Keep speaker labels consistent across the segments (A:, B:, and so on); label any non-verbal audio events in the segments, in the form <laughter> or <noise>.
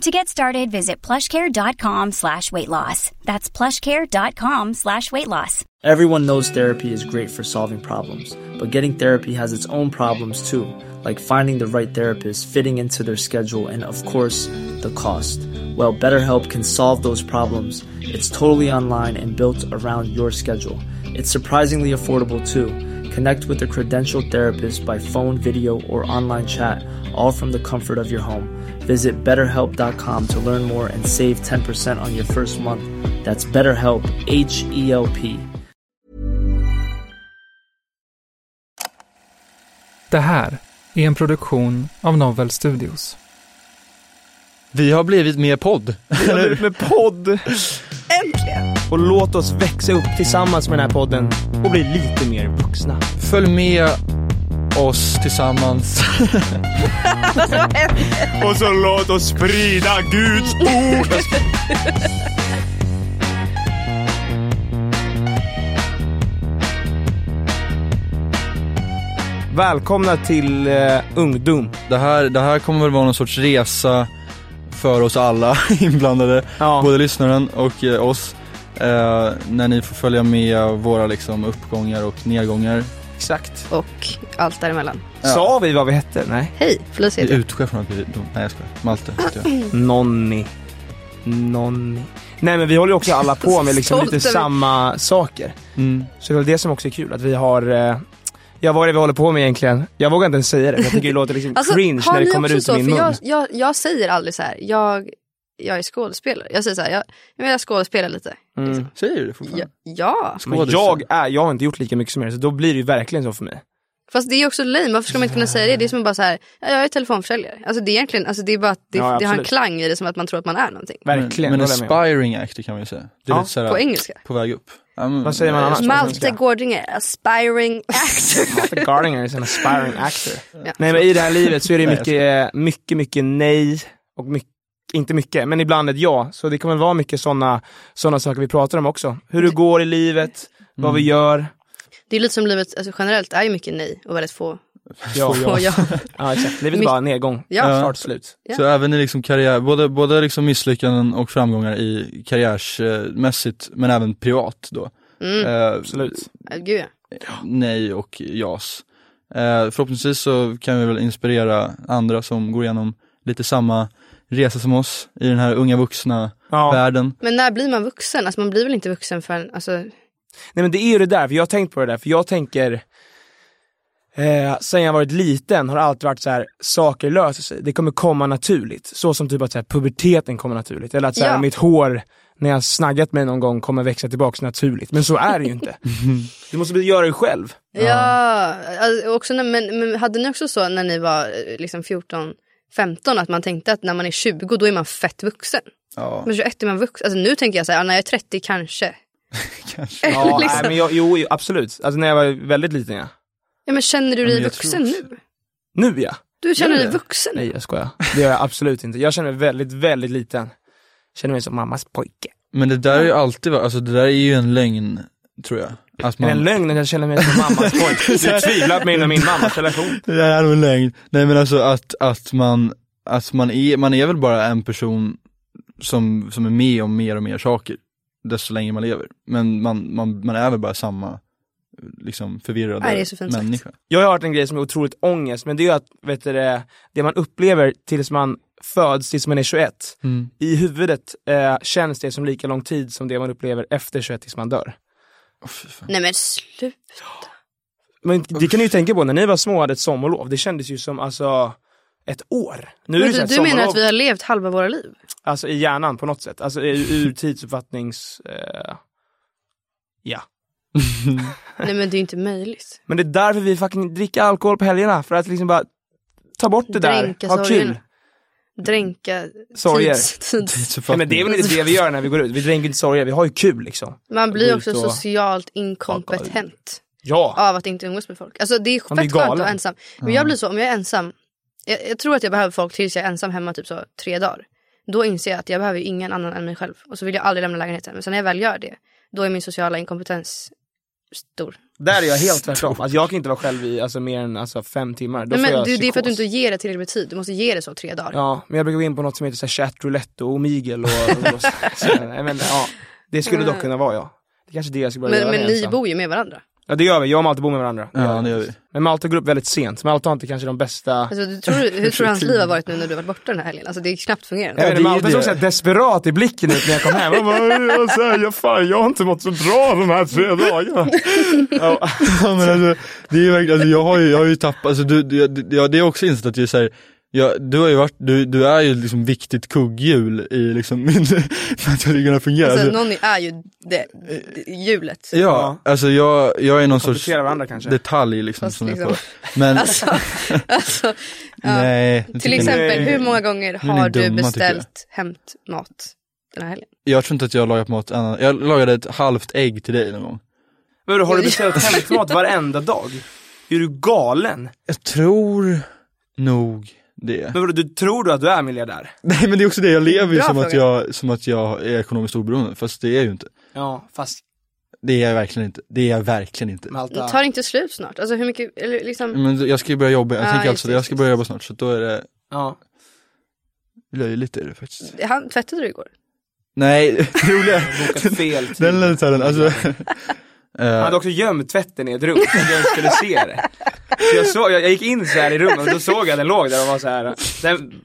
A: To get started, visit plushcare.com slash weight loss. That's plushcare.com slash weight loss.
B: Everyone knows therapy is great for solving problems, but getting therapy has its own problems too, like finding the right therapist, fitting into their schedule, and of course, the cost. Well, BetterHelp can solve those problems. It's totally online and built around your schedule. It's surprisingly affordable too. Connect with a credentialed therapist by phone, video, or online chat, all from the comfort of your home. Visit betterhelp.com to learn more and save 10% on your first month. That's BetterHelp, H E L P.
C: Det här är en produktion av Novel Studios.
D: Vi har blivit mer podd.
E: Vi har blivit med podd.
F: Äntligen!
E: Och låt oss växa upp tillsammans med den här podden och bli lite mer vuxna.
D: Följ med oss tillsammans.
E: och så låt oss sprida Guds ord. Välkomna till eh, Ungdom.
D: Det här, det här kommer väl vara någon sorts resa för oss alla <laughs> inblandade.
E: Ja.
D: Både lyssnaren och eh, oss. Eh, när ni får följa med våra liksom, uppgångar och nedgångar.
E: Exakt.
F: Och allt däremellan.
D: Ja.
E: Sa vi vad vi hette? Nej.
F: Hej, Felicia heter jag.
D: Utgår från att vi... de- Nej jag skojar. Malte heter
E: <laughs>
D: jag.
F: Mm.
E: Nonni. Nonni. Nej men vi håller ju också alla på med
F: <laughs>
E: liksom
F: Stolt
E: lite
F: över-
E: samma saker.
D: Mm.
E: Så det är väl det som också är kul, att vi har eh, Ja vad är det vi håller på med egentligen? Jag vågar inte ens säga det, för jag tycker det låter liksom
F: <laughs> Alltså,
E: cringe
F: har
E: när det
F: ni
E: kommer
F: också
E: ut
F: så?
E: ur min
F: För
E: mun.
F: jag, jag, jag säger aldrig så här, jag, jag är skådespelare. Jag säger så här, jag, jag vill skådespela lite.
E: Mm.
D: Säger du det fortfarande?
F: Ja, ja,
E: Men jag, är, jag har inte gjort lika mycket som er, så då blir det ju verkligen så för mig.
F: fast det är också lame. Varför ska man inte kunna säga det? Det är som att bara så här, ja, jag är telefonförsäljare. Alltså det är egentligen, alltså det är bara att det,
E: Ja,
F: det har en
E: absolut.
F: klang i det som att man tror att man är någonting.
E: Verkligen.
D: Men, men
E: håller jag med om.
D: aspiring actor kan man ju säga. Det är
E: Ja.
D: lite såhär,
F: På engelska.
D: på väg upp. Ja, men-
E: Vad säger man
D: nej,
E: annars?
F: Malte Gårdinger, aspiring actor. <laughs>
E: Martha Gardinger is an aspiring actor.
F: Ja.
E: Nej men i det här livet så är det
D: Nej,
E: mycket, eh, mycket, mycket nej och mycket, inte mycket, men ibland ett ja. Så det kommer vara mycket sådana såna saker vi pratar om också. Hur det går i livet, vad vi
F: Mm.
E: gör.
F: Det är lite som livet alltså, generellt är ju mycket nej och väldigt få
E: Ja,
F: på <laughs> ja.
E: ja exakt. Livet är
F: Mitt-
E: bara nedgång.
F: Ja.
E: Start slut.
F: Ja.
D: Så även i liksom karriär, både, både liksom misslyckanden och framgångar i karriärsmässigt men även privat då.
F: Mm.
D: Eh,
E: Slut.
F: Ja, Gud ja.
D: nej och jas. Eh, förhoppningsvis så kan vi väl inspirera andra som går igenom lite samma resa som oss i den här unga vuxna
E: Ja.
D: världen.
F: Men när blir man vuxen? Alltså man blir väl inte vuxen förrän, alltså
E: Nej men det är ju det där, för jag har tänkt på det där, för jag tänker Eh, sen jag varit liten har det alltid varit så här, saker löser sig. Det kommer komma naturligt. Så som typ att så här, puberteten kommer naturligt. Eller att så här,
F: Ja.
E: mitt hår, när jag snaggat mig någon gång, kommer växa tillbaks naturligt. Men så är det ju <laughs> inte. du måste göra det själv.
F: Ja, alltså också när, men, men hade ni också så när ni var eh, liksom 14, 15 att man tänkte att när man är 20 då är man fett vuxen?
D: <laughs> Ja,
F: Men 21 är man vuxen. Alltså nu tänker jag så här, ja, när jag är 30 kanske.
D: kanske.
E: Ja,
F: <laughs> Liksom.
E: nej, men jag, jo, jo, absolut. Alltså när jag var väldigt liten ja.
F: Ja men känner du
D: men
F: dig
D: jag
F: vuxen
D: tror också-
F: nu?
E: Nu ja.
F: Du känner
E: Gör
F: dig
E: jag?
F: vuxen?
E: Nej jag skojar. Det gör jag absolut inte. Jag känner mig väldigt, väldigt liten. Känner mig som mammas pojke.
D: Men det där är ju alltid, va- alltså det där är ju en lögn tror jag. Att
E: Är det en lögn att jag känner mig som <laughs> mammas pojke? Du tvivlar på mig inom min mammas relation.
D: Det där är nog en lögn. Nej men alltså att, att man, att man är, man är väl bara en person som, som är med om mer och mer saker, desto längre man lever. Men man, man, man är väl bara samma, liksom förvirrade
F: Nej, det är så fint sagt.
D: människa.
E: Jag har hört en grej som är otroligt ångest, men det är ju att vet du, det, det man upplever tills man föds, tills man är 21,
D: Mm.
E: i huvudet eh, känns det som lika lång tid som det man upplever efter 21 tills man dör.
D: Åh, fy fan.
F: Nej men slut.
E: Men det kan ni ju tänka på, när ni var små och hade ett sommarlov, det kändes ju som alltså ett år. Nu är
F: Men
E: det så
F: du
E: här,
F: du menar
E: sommarlov,
F: att vi har levt halva
E: <laughs>
F: våra liv?
E: alltså i hjärnan på något sätt, alltså i-
F: <laughs>
E: ur tidsuppfattnings... Eh, ja.
F: Nej men det är ju inte möjligt.
E: Men det är därför vi fucking dricker alkohol på helgerna, för att liksom bara ta bort det där,
F: Dränka
E: ha
F: sorgen.
E: kul.
F: dränka
E: Sorger.
F: tids, tids.
E: Nej, men <laughs> det är väl inte det vi gör när vi går ut, vi dränker inte sorger, vi har ju kul liksom.
F: Man
E: Gå
F: blir
E: ut
F: också
E: och-
F: socialt inkompetent
E: Ja!
F: av att inte umgås med folk. Alltså det är
E: Man blir
F: fett skönt att vara
E: galen.
F: ensam. Men jag blir så, om jag är ensam, jag, jag tror att jag behöver folk tills jag är ensam hemma typ så tre dagar. Då inser jag att jag behöver ju ingen annan än mig själv. Och så vill jag aldrig lämna lägenheten. Men sen när jag väl gör det, då är min sociala inkompetens stor.
E: Där är jag helt tvärtom. Alltså, jag kan inte vara själv i alltså, mer än alltså, fem timmar. Då
F: Nej,
E: får
F: men
E: jag
F: du, det är för att du
E: psykos.
F: inte ger det tillräckligt med tid. Du måste ge det så tre dagar.
E: Ja, men jag brukar gå in på något som heter så här, chat roulette och omigel och, och, och så, så, nej, men, ja. Det skulle dock kunna vara jag. Det är kanske det jag ska börja
F: men
E: göra
F: Mm. men
E: när jag är
F: ni
E: ensam.
F: bor ju med varandra.
E: Ja det gör vi, jag och Malte bor med varandra.
D: Ja, det gör vi.
E: Men Malte går upp väldigt sent, Malte har inte kanske de bästa
F: Alltså,
E: <laughs>
F: du tror, hur tror du hans liv har varit nu när du har varit borta den här helgen? Alltså det är knappt fungerande.
E: Jag
D: Ja,
E: vet
D: det är ju
E: inte, Malte
D: det.
E: såg så här desperat i blicken ut när jag kom hem. Han bara, jag, så här, jag, fan, jag har inte mått så bra de här tre dagarna. Ja,
D: Ja, <laughs> men alltså, det är ju verkligen, alltså, jag har ju, jag har ju tappat, alltså, du, du, jag- jag, det är också insett att jag, är så här, jag, du har ju varit, du, du är ju liksom viktigt kugghjul i liksom <laughs> min, för att jag ska kunna fungera.
F: Alltså,
D: Alltså,
F: någon är ju det,
E: Eh,
F: det, hjulet.
D: ja, alltså jag, jag är någon sorts
E: Komplettera varandra kanske.
D: detalj liksom
F: Fast
D: som är
F: liksom-
D: på. Men
F: Alltså, <laughs>
D: <laughs>
F: alltså, ja.
D: nej, det
F: Till
D: tycker jag inte.
F: exempel,
E: ni-
F: hur många gånger
D: är ni
F: har du
D: dumma, tycker jag.
F: beställt hämtmat den här helgen?
D: jag tror inte att jag har lagat mat annan, jag lagade ett halvt ägg till dig någon gång.
E: Men har du beställt hämtmat varenda dag? Är du galen?
D: Jag tror nog det.
E: Men vadå, du tror du att du är miljardär?
D: <laughs> Nej men det är också det, jag lever ju
F: Bra
D: som att,
F: fråga.
D: jag, som att jag är ekonomiskt oberoende, fast det är jag ju inte.
E: Ja, fast
D: Det är jag verkligen inte, det är jag verkligen inte.
E: Malta.
F: Tar inte slut snart? Alltså hur mycket, eller liksom,
D: Men jag ska ju börja jobba, jag
F: Ja,
D: tänker
F: just
D: alltså
F: det,
D: det, jag ska
F: just
D: börja jobba snart så då är det
E: Ja.
D: löjligt är det faktiskt.
F: han tvättade du igår?
D: Nej, <laughs> det roliga,
E: Bokat fel tid.
D: <laughs> den lät såhär,
F: <laughs>
D: alltså. Eh,
E: Han hade också gömt tvätten i ett rum, så att jag inte skulle se det. Så jag, såg, jag, jag gick in så här i rummet och då såg jag att den låg där och var så här. Sen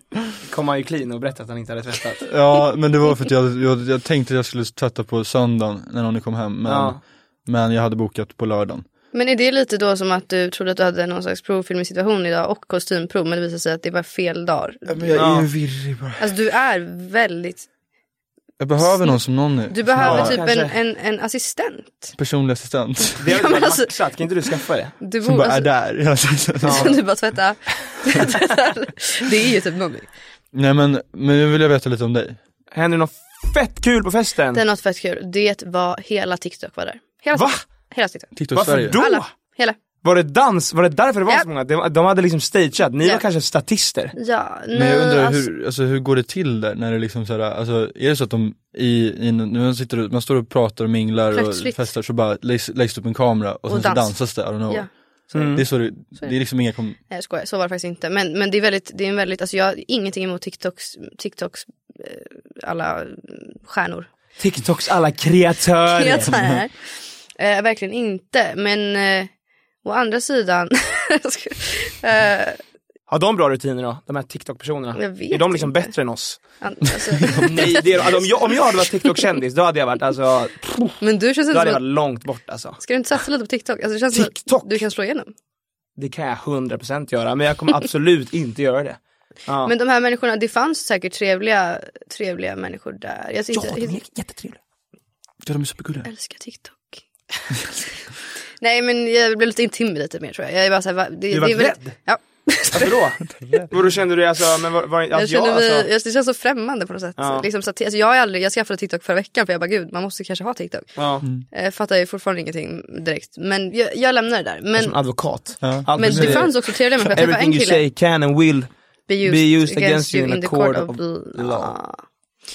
E: kom han ju clean och berättade att han inte hade tvättat.
D: ja men det var för att jag, jag, jag tänkte att jag skulle tvätta på söndagen när någon kom hem men,
E: Ja.
D: men jag hade bokat på lördagen.
F: Men är det lite då som att du trodde att du hade någon slags provfilmsituation idag och kostymprov men det visade sig att det var fel dag?
D: Men jag
E: Ja.
D: är ju virrig bara.
F: Alltså du är väldigt,
D: Jag behöver någon som någon är,
F: du behöver
E: Ja,
F: typ en,
E: kanske.
F: en, en assistent.
D: personlig
F: <laughs>
D: assistent.
E: Det har
F: Ja,
E: ju
F: men
E: varit
F: alltså-
E: maxat, kan inte du skaffa det?
F: Du
D: Som
F: bor,
D: bara är
F: alltså,
D: där <laughs> hela tiden.
F: <laughs> som du
D: <laughs>
F: bara tvättar. det är ju typ mummi.
D: Nej men, men nu vill jag veta lite om dig.
E: Händer det något fett kul på festen?
F: Det är något fett kul. Det var hela TikTok var där. Hela
E: Va?
F: TikTok. Hela TikTok.
D: TikTok Sverige.
E: Varför då?
F: Alla. Hela.
E: Var det dans? Var det därför det var
F: Ja.
E: så många? De, de hade liksom stageat, ni
F: Ja.
E: var kanske statister?
F: Ja,
D: Men jag
F: nej,
D: undrar
F: alltså-
D: hur, alltså, hur går det till där när det liksom såhär, alltså är det så att de i, i nu man sitter och- man står och pratar och minglar
F: Plötsligt.
D: och festar så bara läggs, läggs det upp en kamera och,
F: Och
D: sen så
F: dans.
D: dansas det, I don't know.
F: Ja.
D: Det är så det,
F: Så är
D: det är liksom inga kom,
F: Nej jag skojar, så var det faktiskt inte. Men, men det är väldigt, det är en väldigt, alltså jag har ingenting emot TikToks, TikToks eh, alla mm, stjärnor.
E: TikToks alla kreatörer.
F: <laughs> Jag så här. Eh, verkligen inte, men eh, å andra sidan, <laughs> jag ska- eh,
E: Har de bra rutiner då, de här TikTok-personerna?
F: Jag vet
E: Är de liksom
F: inte.
E: bättre än oss?
F: an- alltså,
E: Nej, det är, alltså, om, jag, om jag hade varit TikTok-kändis då hade jag varit alltså,
F: men
E: <laughs>
F: du känns
E: då
F: inte
E: hade jag
F: som
E: varit
F: att,
E: långt bort alltså.
F: ska du inte satsa lite på TikTok? Alltså, det känns som att
E: TikTok?
F: Du kan slå igenom.
E: Det kan jag 100% göra, men jag kommer absolut inte göra det. Ja.
F: Men de här människorna, det fanns säkert trevliga, trevliga människor där. Jag, sitter, jag
E: jättetrevliga.
D: ja de är supergulliga.
F: älskar TikTok. <laughs> Nej men jag blev lite intimidated mer tror jag. Jag är bara så här, va- det,
E: Du var
F: det är väl-
E: rädd?
F: Ja.
E: Varför då? Och då kände du dig alltså, men var, var, att jag,
F: jag känner mig,
E: alltså,
F: jag, det känns så främmande på något sätt.
E: Ja.
F: Liksom, så att, alltså, jag, har aldrig, jag skaffade TikTok förra veckan för jag bara gud man måste kanske ha TikTok.
E: ja,
F: Eh, fattar ju fortfarande ingenting direkt. Men jag, jag lämnar det där.
E: som
F: Men,
E: advokat.
D: Ja.
E: Allt
F: men
E: du
F: det
E: säger.
F: fanns också trevliga människor. Jag träffade
E: Alltså, Everything
F: en
E: you
F: kille.
E: say can and will
F: Be used,
E: be used against you in a court of
F: law.
E: law.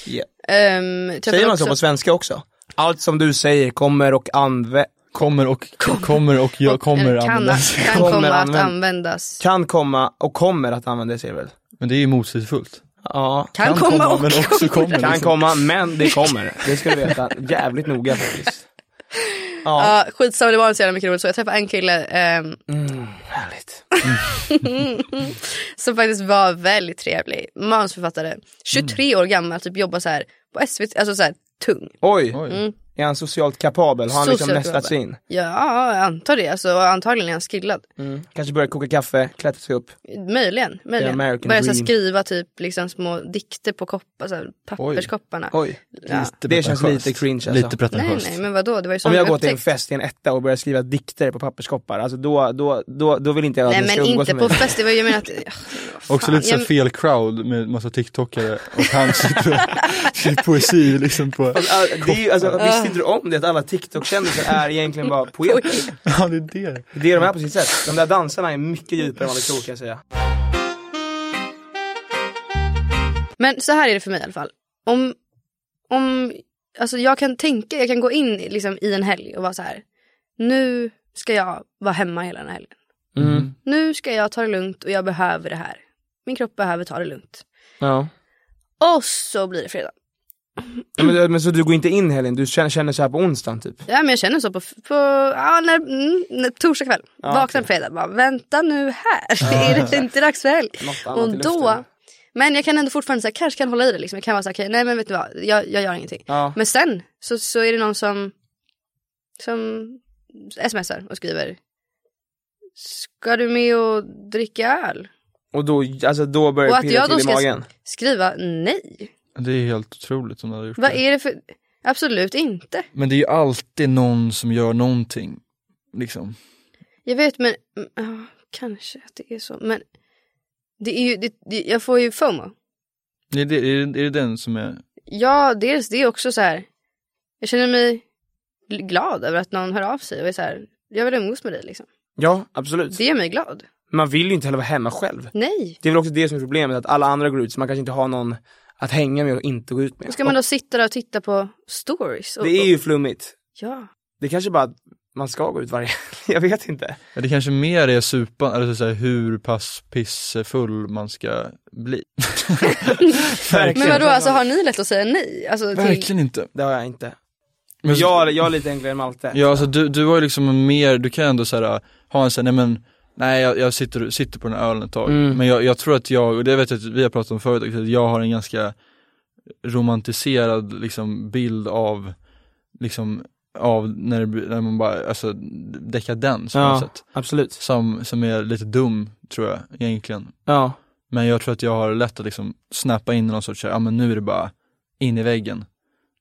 E: Yeah.
F: Ehm, träffade
E: Säger man
F: också-
E: så på svenska också? Allt som du säger kommer och anvä-
D: Kommer och, kommer och jag kommer
F: eller kan,
D: användas.
F: kan
E: Kommer
F: komma att
E: användas.
F: användas.
E: kan komma och kommer att använda sig väl?
D: Men det är ju motsägelsefullt.
E: Ja.
F: Kan, komma, och
D: men också kommer.
E: Kan
D: liksom.
E: komma, men det kommer. Det ska du veta jävligt noga faktiskt. Ja,
F: Ja, skitsamma det var inte så jävla mycket roligt så. Jag träffade en kille ehm,
E: härligt.
F: som faktiskt var väldigt trevlig.
E: Mm.
F: Manusförfattare, 23 år gammal, typ jobbar så här på SVT, alltså så här tung.
E: Oj,
D: Oj.
F: Mm.
E: Är han socialt kapabel? Har han liksom
F: Socialt
E: nästat sig in?
F: Ja, jag antar det. Alltså, antagligen är han skillad.
E: Kanske börjar koka kaffe, klättra sig upp.
F: Möjligen. möjligen.
E: American
F: Börjar så här,
E: dream.
F: skriva typ liksom små dikter på koppar, så här, papperskopparna.
E: Oj.
F: Ja.
E: Det känns
D: pretentiöst.
E: lite cringe, alltså.
D: Lite
F: Nej
D: pretentiöst.
F: nej men vadå, det var ju så
E: Om
F: han
E: jag går till en
F: upptäckte.
E: fest i en etta och börjar skriva dikter på papperskoppar, alltså då, då, då, då vill inte jag att
F: Nej
E: ni ska
F: men
E: umgås
F: inte
E: med
F: på
E: mig.
F: fest, det var ju jag
E: <laughs>
F: menar att... Ja, fan.
D: Också lite så här
F: Jag-
D: fel crowd med massa tiktokare och han sitter
F: <laughs>
D: och skriver poesi liksom på,
E: Alltså, ah, det är ju, alltså, visste inte du om det att alla TikTok-kändisar är egentligen
F: <laughs>
E: bara poeter?
D: ja det är det.
E: Det är de här på sitt sätt. De där dansarna är mycket djupare än vad vi tror kan jag säga.
F: Men så här är det för mig i alla fall. Om, om alltså jag kan tänka, jag kan gå in i- liksom, i en helg och vara så här. Nu ska jag vara hemma hela den här helgen.
E: Mm.
F: Nu ska jag ta det lugnt och jag behöver det här. Min kropp behöver ta det lugnt.
E: Ja.
F: Och så blir det fredag.
E: Men, men så du går inte in helgen, du känner, känner så här på onsdagen typ?
F: Ja men jag känner så på, på ja, när, mm, när, torsdag kväll. Vaknar på fredag bara vänta nu här. <laughs> är det inte dags för helg?
E: Något annat i
F: Och
E: luften.
F: då. Men jag kan ändå fortfarande säga kanske kan hålla i det liksom. Jag kan vara så här, okej nej men vet du vad jag, jag gör ingenting.
E: Ja.
F: Men sen så, så är det någon som, som smsar och skriver Ska du med och dricka öl?
E: Och då, alltså, då
F: Och
E: börjar
F: att
E: det pirra
F: jag
E: till
F: då
E: i
F: ska
E: magen?
F: sk- skriva nej.
D: Det är helt otroligt som de hade gjort
F: Vad
D: det.
F: är det för, absolut inte.
D: Men det är ju alltid någon som gör någonting. Liksom.
F: Jag vet men, mm, ja, kanske att det är så. Men det är ju, det, det, jag får ju FOMO.
D: Är det, är, det, är det den som är,
F: Ja, dels det är också så här. Jag känner mig glad över att någon hör av sig och är så här. Jag vill umgås med dig liksom.
E: Ja, absolut.
F: Det gör mig glad.
E: Man vill ju inte heller vara hemma själv.
F: Nej.
E: Det är väl också det som är problemet, att alla andra går ut så man kanske inte har någon att hänga med och inte gå ut med.
F: Och ska man då sitta där och titta på stories? Och,
E: Det är ju flummigt.
F: Ja.
E: Det kanske bara att man ska gå ut varje <laughs> Jag vet inte.
D: är det kanske mer är supan, eller så här, hur pass pissefull man ska bli?
F: Men vadå, alltså har ni lätt att säga nej? Alltså, till...
D: Verkligen inte.
E: Det har jag inte.
D: Men-
E: Jag, jag är lite enklare än Malte.
D: Ja alltså du, du har ju liksom en mer, du kan ändå så här, ha en sån här, nej men Nej jag, jag sitter, sitter på den här ölen ett tag,
E: Mm.
D: men jag, jag tror att jag, och det vet jag att vi har pratat om förut också, att jag har en ganska romantiserad liksom bild av, liksom, av när, det, blir- när man bara, alltså dekadens på något
E: ja
D: sätt.
E: absolut.
D: Som, som är lite dum tror jag egentligen.
E: Ja.
D: Men jag tror att jag har lätt att liksom snappa in i någon sorts, så här, ja men nu är det bara in i väggen.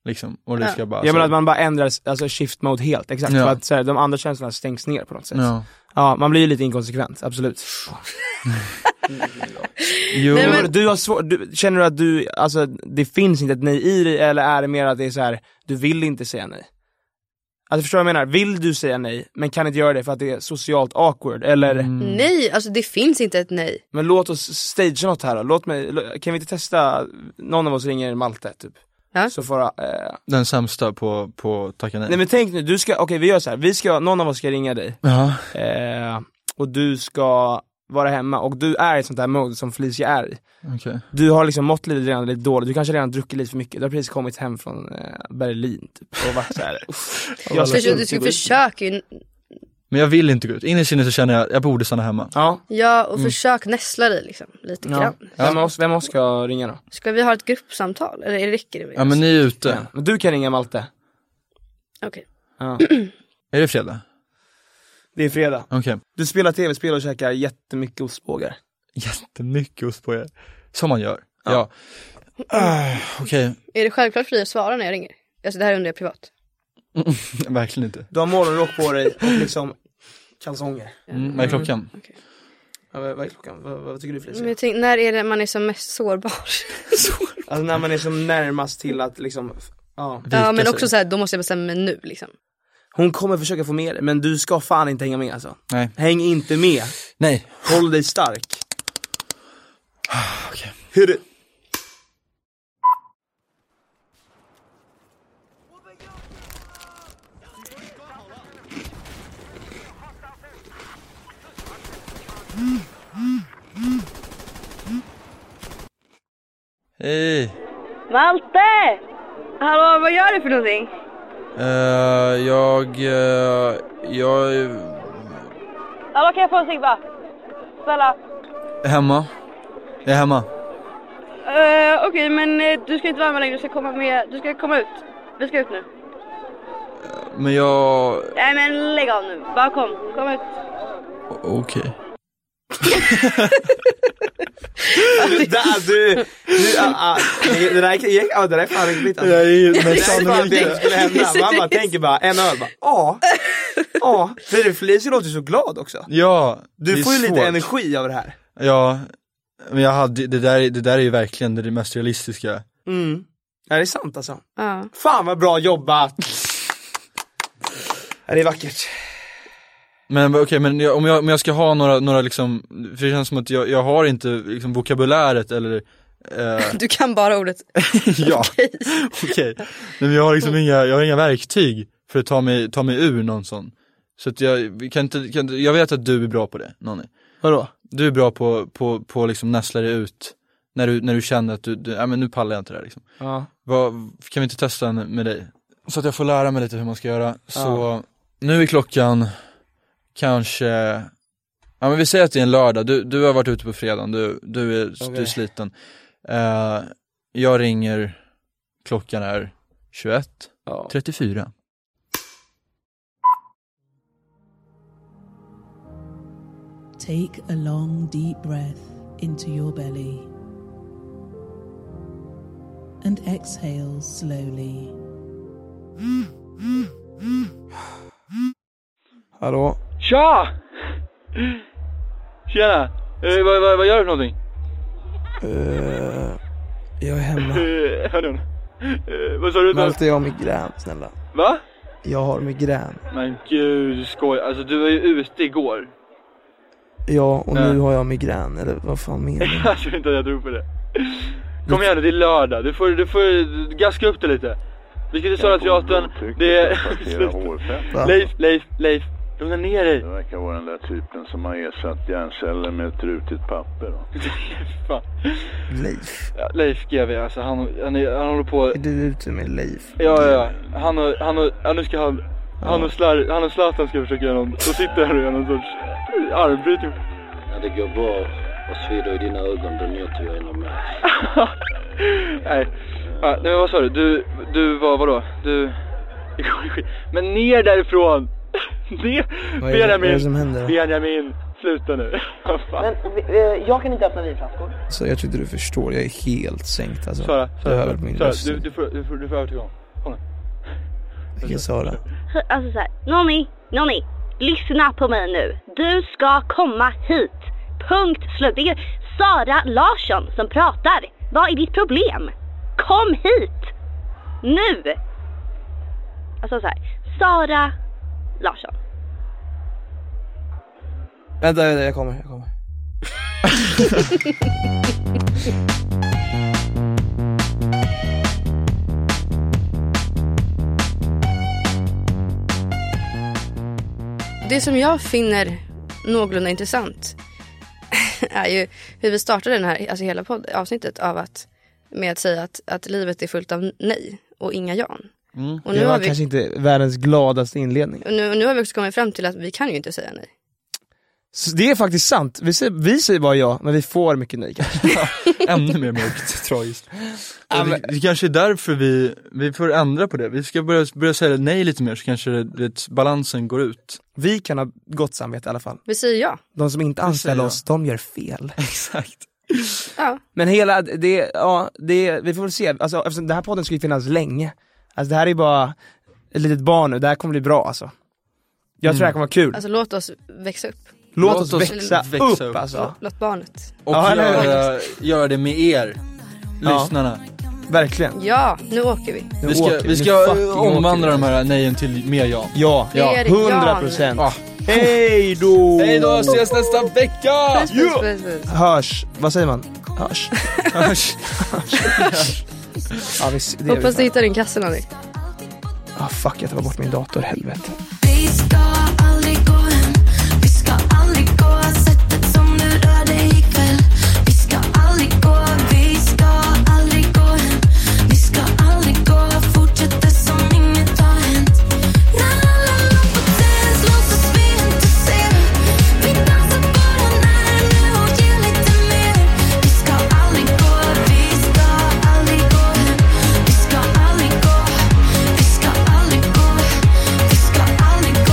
D: Liksom, och det
F: Ja.
D: ska bara
E: Jag
D: så-
E: menar att man bara ändrar alltså shift mode helt, exakt.
D: Ja.
E: För att så här, de andra känslorna stängs ner på något sätt. Ja,
D: ja.
E: man blir ju lite inkonsekvent, absolut.
D: Jo,
F: Nej, men-
E: Du har svår, du, känner du att du, alltså det finns inte ett nej i dig eller är det mer att det är så här, du vill inte säga nej? Alltså förstår du vad jag menar? Vill du säga nej men kan inte göra det för att det är socialt awkward eller?
D: Mm.
F: Nej, alltså det finns inte ett nej.
E: Men låt oss stagea något här då. Låt mig, l- kan vi inte testa, någon av oss ringer Malte typ.
F: Ja.
E: Så får, eh,
D: den sämsta på, på tacka nej.
E: nej men tänk nu, du ska, okej vi gör så här. vi ska, någon av oss ska ringa dig.
D: Ja,
E: Eh, och du ska vara hemma och du är i ett sånt där mode som Felicia är i.
D: okej.
E: Du har liksom mått lite redan lite dåligt, du kanske redan druckit lite för mycket, du har precis kommit hem från eh, Berlin typ och varit
F: <laughs>
E: såhär, Alltså, jag ska
F: Förs-
E: inte
F: du ska
E: gå ut."
F: försöka ju,
D: Men jag vill inte gå ut. In i sinnet så känner jag, jag borde stanna hemma.
E: Ja,
F: ja och försök nästla dig liksom, lite
E: Mm. ja.
F: grann.
E: Vem, av oss, vem av oss ska jag ringa då?
F: Ska vi ha ett gruppsamtal eller är det- räcker det med
D: Ja men ni är ute.
E: Ja. Men du kan ringa Malte.
F: Okej.
E: Ja.
D: Är det fredag?
E: Det är fredag.
D: Okej.
E: Du spelar tv-spel och käkar jättemycket ostbågar.
D: Jättemycket ost på er. Som man gör. Ja. Ah, Okej, <laughs>
F: Är det självklart för dig att svara när jag ringer? Alltså det här undrar jag privat.
D: verkligen inte.
E: Du har morgonrock på dig och liksom kalsonger.
D: Mm, vad är klockan?
E: Ja, vad, vad är klockan? Vad, vad tycker du
F: Men
E: Felicia?
F: jag tänkte, när är det man är som mest
E: <laughs>
F: sårbar?
E: Alltså när man är som närmast till att liksom, f- ja.
F: ja men
D: Vika
E: alltså.
F: också
D: sig.
F: så här, då måste jag bestämma mig nu liksom.
E: Hon kommer försöka få med dig, men du ska fan inte hänga med alltså.
D: Nej.
E: Häng inte med.
D: Nej.
E: Håll dig stark.
D: okej.
E: Hur du...
D: Hej.
G: Malte! Hallå, vad gör du för någonting?
D: Eh, jag, eh, jag är
G: Hallå, kan jag få en cigg bara? Snälla.
D: hemma. Jag är hemma.
G: Eh, Okej, men eh, du ska inte vara med längre. Du ska komma med. Du ska komma ut. Vi ska ut nu.
D: Men jag...
G: Nej men lägg av nu. Bara kom. Kom ut.
D: Okej.
H: Där, du, du, ah, ah, det, där, gick- ja, det där är fan rimligt alltså.
D: Jag är ju men
H: Det är bara det som skulle hända. Man bara tänker bara en öl bara, ja, ja. För Felicia låter så glad också.
D: Ja, det
H: Du
D: är
H: får ju
D: svårt.
H: lite energi av det här.
D: Ja, men jag hade, det där, det där är ju verkligen det mest realistiska.
H: Mm. Ja det är sant alltså.
F: Ja.
H: Fan vad bra jobbat! Ja, det är vackert.
D: Men okej, men jag, om, jag, om jag ska ha några, några liksom, för det känns som att jag, jag har inte liksom vokabuläret eller eh,
F: Du kan bara ordet
D: Ja,
F: okej.
D: okej. Nej, men jag har liksom inga, jag har inga verktyg för att ta mig, ta mig ur någon sån. Så att jag kan inte, kan, inte- jag vet att du är bra på det, Nanny.
E: Vadå?
D: Du är bra på, på, på liksom näsla dig ut. När du, när du känner att du, du ja, men nu pallar jag inte det här liksom.
E: Ja.
D: Vad, kan vi inte testa en med dig? Så att jag får lära mig lite hur man ska göra. Så nu är klockan kanske, ja men vi säger att det är en lördag, du, du har varit ute på fredagen, du, du, är, du är
H: Okej.
D: sliten. Eh, jag ringer, klockan är 21.34.
E: Ja.
I: Take a long, deep breath into your belly and exhale slowly.
E: Hallå?
D: Tja! Tjena! Eh, vad, vad, vad gör du för någonting?
E: Jag är hemma.
D: Uh, hör du? Eh, vad sa du?
E: Malte, jag har migrän snälla.
D: Va?
E: Jag har migrän.
D: Men gud, du skojar. Alltså du var ju ute igår. <laughs>
E: Ja, och
D: Ja.
E: nu har jag migrän. Eller vad fan menar du?
D: Jag tror inte att jag tror på det. Kom igen nu, det är lördag. Du får, du får gaska upp det lite. Vi ska till Södra Teatern. Det är... <laughs>
E: Va?
D: Leif, Leif, Leif. Lugna ner dig.
J: Det verkar vara den där typen som har ersatt hjärnceller med ett rutet papper.
D: Fan.
E: Leif.
D: Ja, Leif GW alltså, han, han, är, han håller på...
E: Är du ute med Leif?
D: Ja, ja, ja. Han och, han och, ja, nu ska han... Han och, Slar, han och Zlatan ska försöka göra någon... Då sitter han och gör någon sorts armbrytning.
K: När det går bra och svider i dina ögon, då njuter jag inom mig.
D: <laughs> Nej. Ja, nej men vad sa du? Du, du var vadå? Du... Men ner därifrån! <laughs> Ner!
E: Vad är det- vad är det som
D: Benjamin!
E: händer?
D: Benjamin! Sluta nu! <laughs> Vad fan?
G: jag kan inte öppna vinflaskor.
E: Så jag tror inte du förstår. Jag är helt sänkt alltså.
D: Sara,
E: jag
D: Sara,
E: hör min
D: Sara
E: röst.
D: du, du får, du får, du får övertyga honom.
E: Vilken Sara?
G: Alltså såhär, Nonny, Nonny. Lyssna på mig nu. Du ska komma hit. Punkt slut. Det är Sara Larsson som pratar. Vad är ditt problem? Kom hit! Nu! Alltså såhär, Sara Larsson.
E: Vänta, vänta, jag kommer, jag kommer.
F: Det som jag finner någorlunda intressant <laughs> är ju hur vi startade den här, alltså hela podd, avsnittet av att med att säga att, att livet är fullt av nej och inga jan. Och, nu
E: Mm, Det
F: har
E: var
F: vi,
E: kanske inte världens gladaste inledning.
F: och, nu, och nu har vi också kommit fram till att vi kan ju inte säga nej.
E: Så det är faktiskt sant. Vi säger, vi säger bara ja, men vi får mycket nej kanske.
D: <laughs> Ännu mer mörkt, <laughs> tragiskt.
E: Ja, men-
D: Det, det kanske är därför vi, vi får ändra på det. Vi ska börja, börja säga nej lite mer så kanske det, det, balansen går ut.
E: Vi kan ha gott samvete i alla fall.
F: Vi säger ja.
E: De som inte
D: säger
E: anställer
D: ja.
E: oss, de gör fel.
D: <laughs> Exakt.
F: ja.
E: Men hela, det, ja, det, vi får väl se. Alltså, eftersom den här podden ska ju finnas länge. Alltså det här är ju bara ett litet barn nu, det här kommer bli bra alltså. Jag tror det här kommer vara kul.
F: Alltså låt oss växa upp.
E: låt,
D: Mm. låt
E: oss
D: oss
E: växa,
D: växa
E: upp,
D: upp.
E: alltså.
F: Låt barnet.
D: Och
E: Ja, eller hur?
D: göra, göra det med er,
E: Ja.
D: lyssnarna.
E: Verkligen.
F: Ja, nu åker vi.
E: Nu
D: Vi ska,
E: åker
D: vi
E: nu
D: ska
E: fucking
D: omvandla
E: åker vi.
D: de här nejen till mer ja.
E: Ja,
F: Ja.
E: ja, 100 procent.
D: Ja.
E: Hej då!
D: Hej då, ses nästa vecka!
F: Puss, puss, puss, puss.
E: Hörs, vad säger man? Hörs. Hörs. ja, visst, det gör vi
F: Hoppas
E: fan.
F: du hittar din kasse Nanny.
E: Ah fuck, jag tappade bort min dator, helvete.
I: Vi ska aldrig gå hem Vi ska aldrig gå Sättet som du rör dig ikväll Vi ska aldrig gå Vi ska aldrig gå hem Vi ska aldrig gå Fortsätter som inget har hänt När alla lampor tänds Låtsas vi inte se Vi dansar bara när nu och ger lite mer Vi ska aldrig gå Vi ska aldrig gå hem Vi ska aldrig gå Vi ska aldrig gå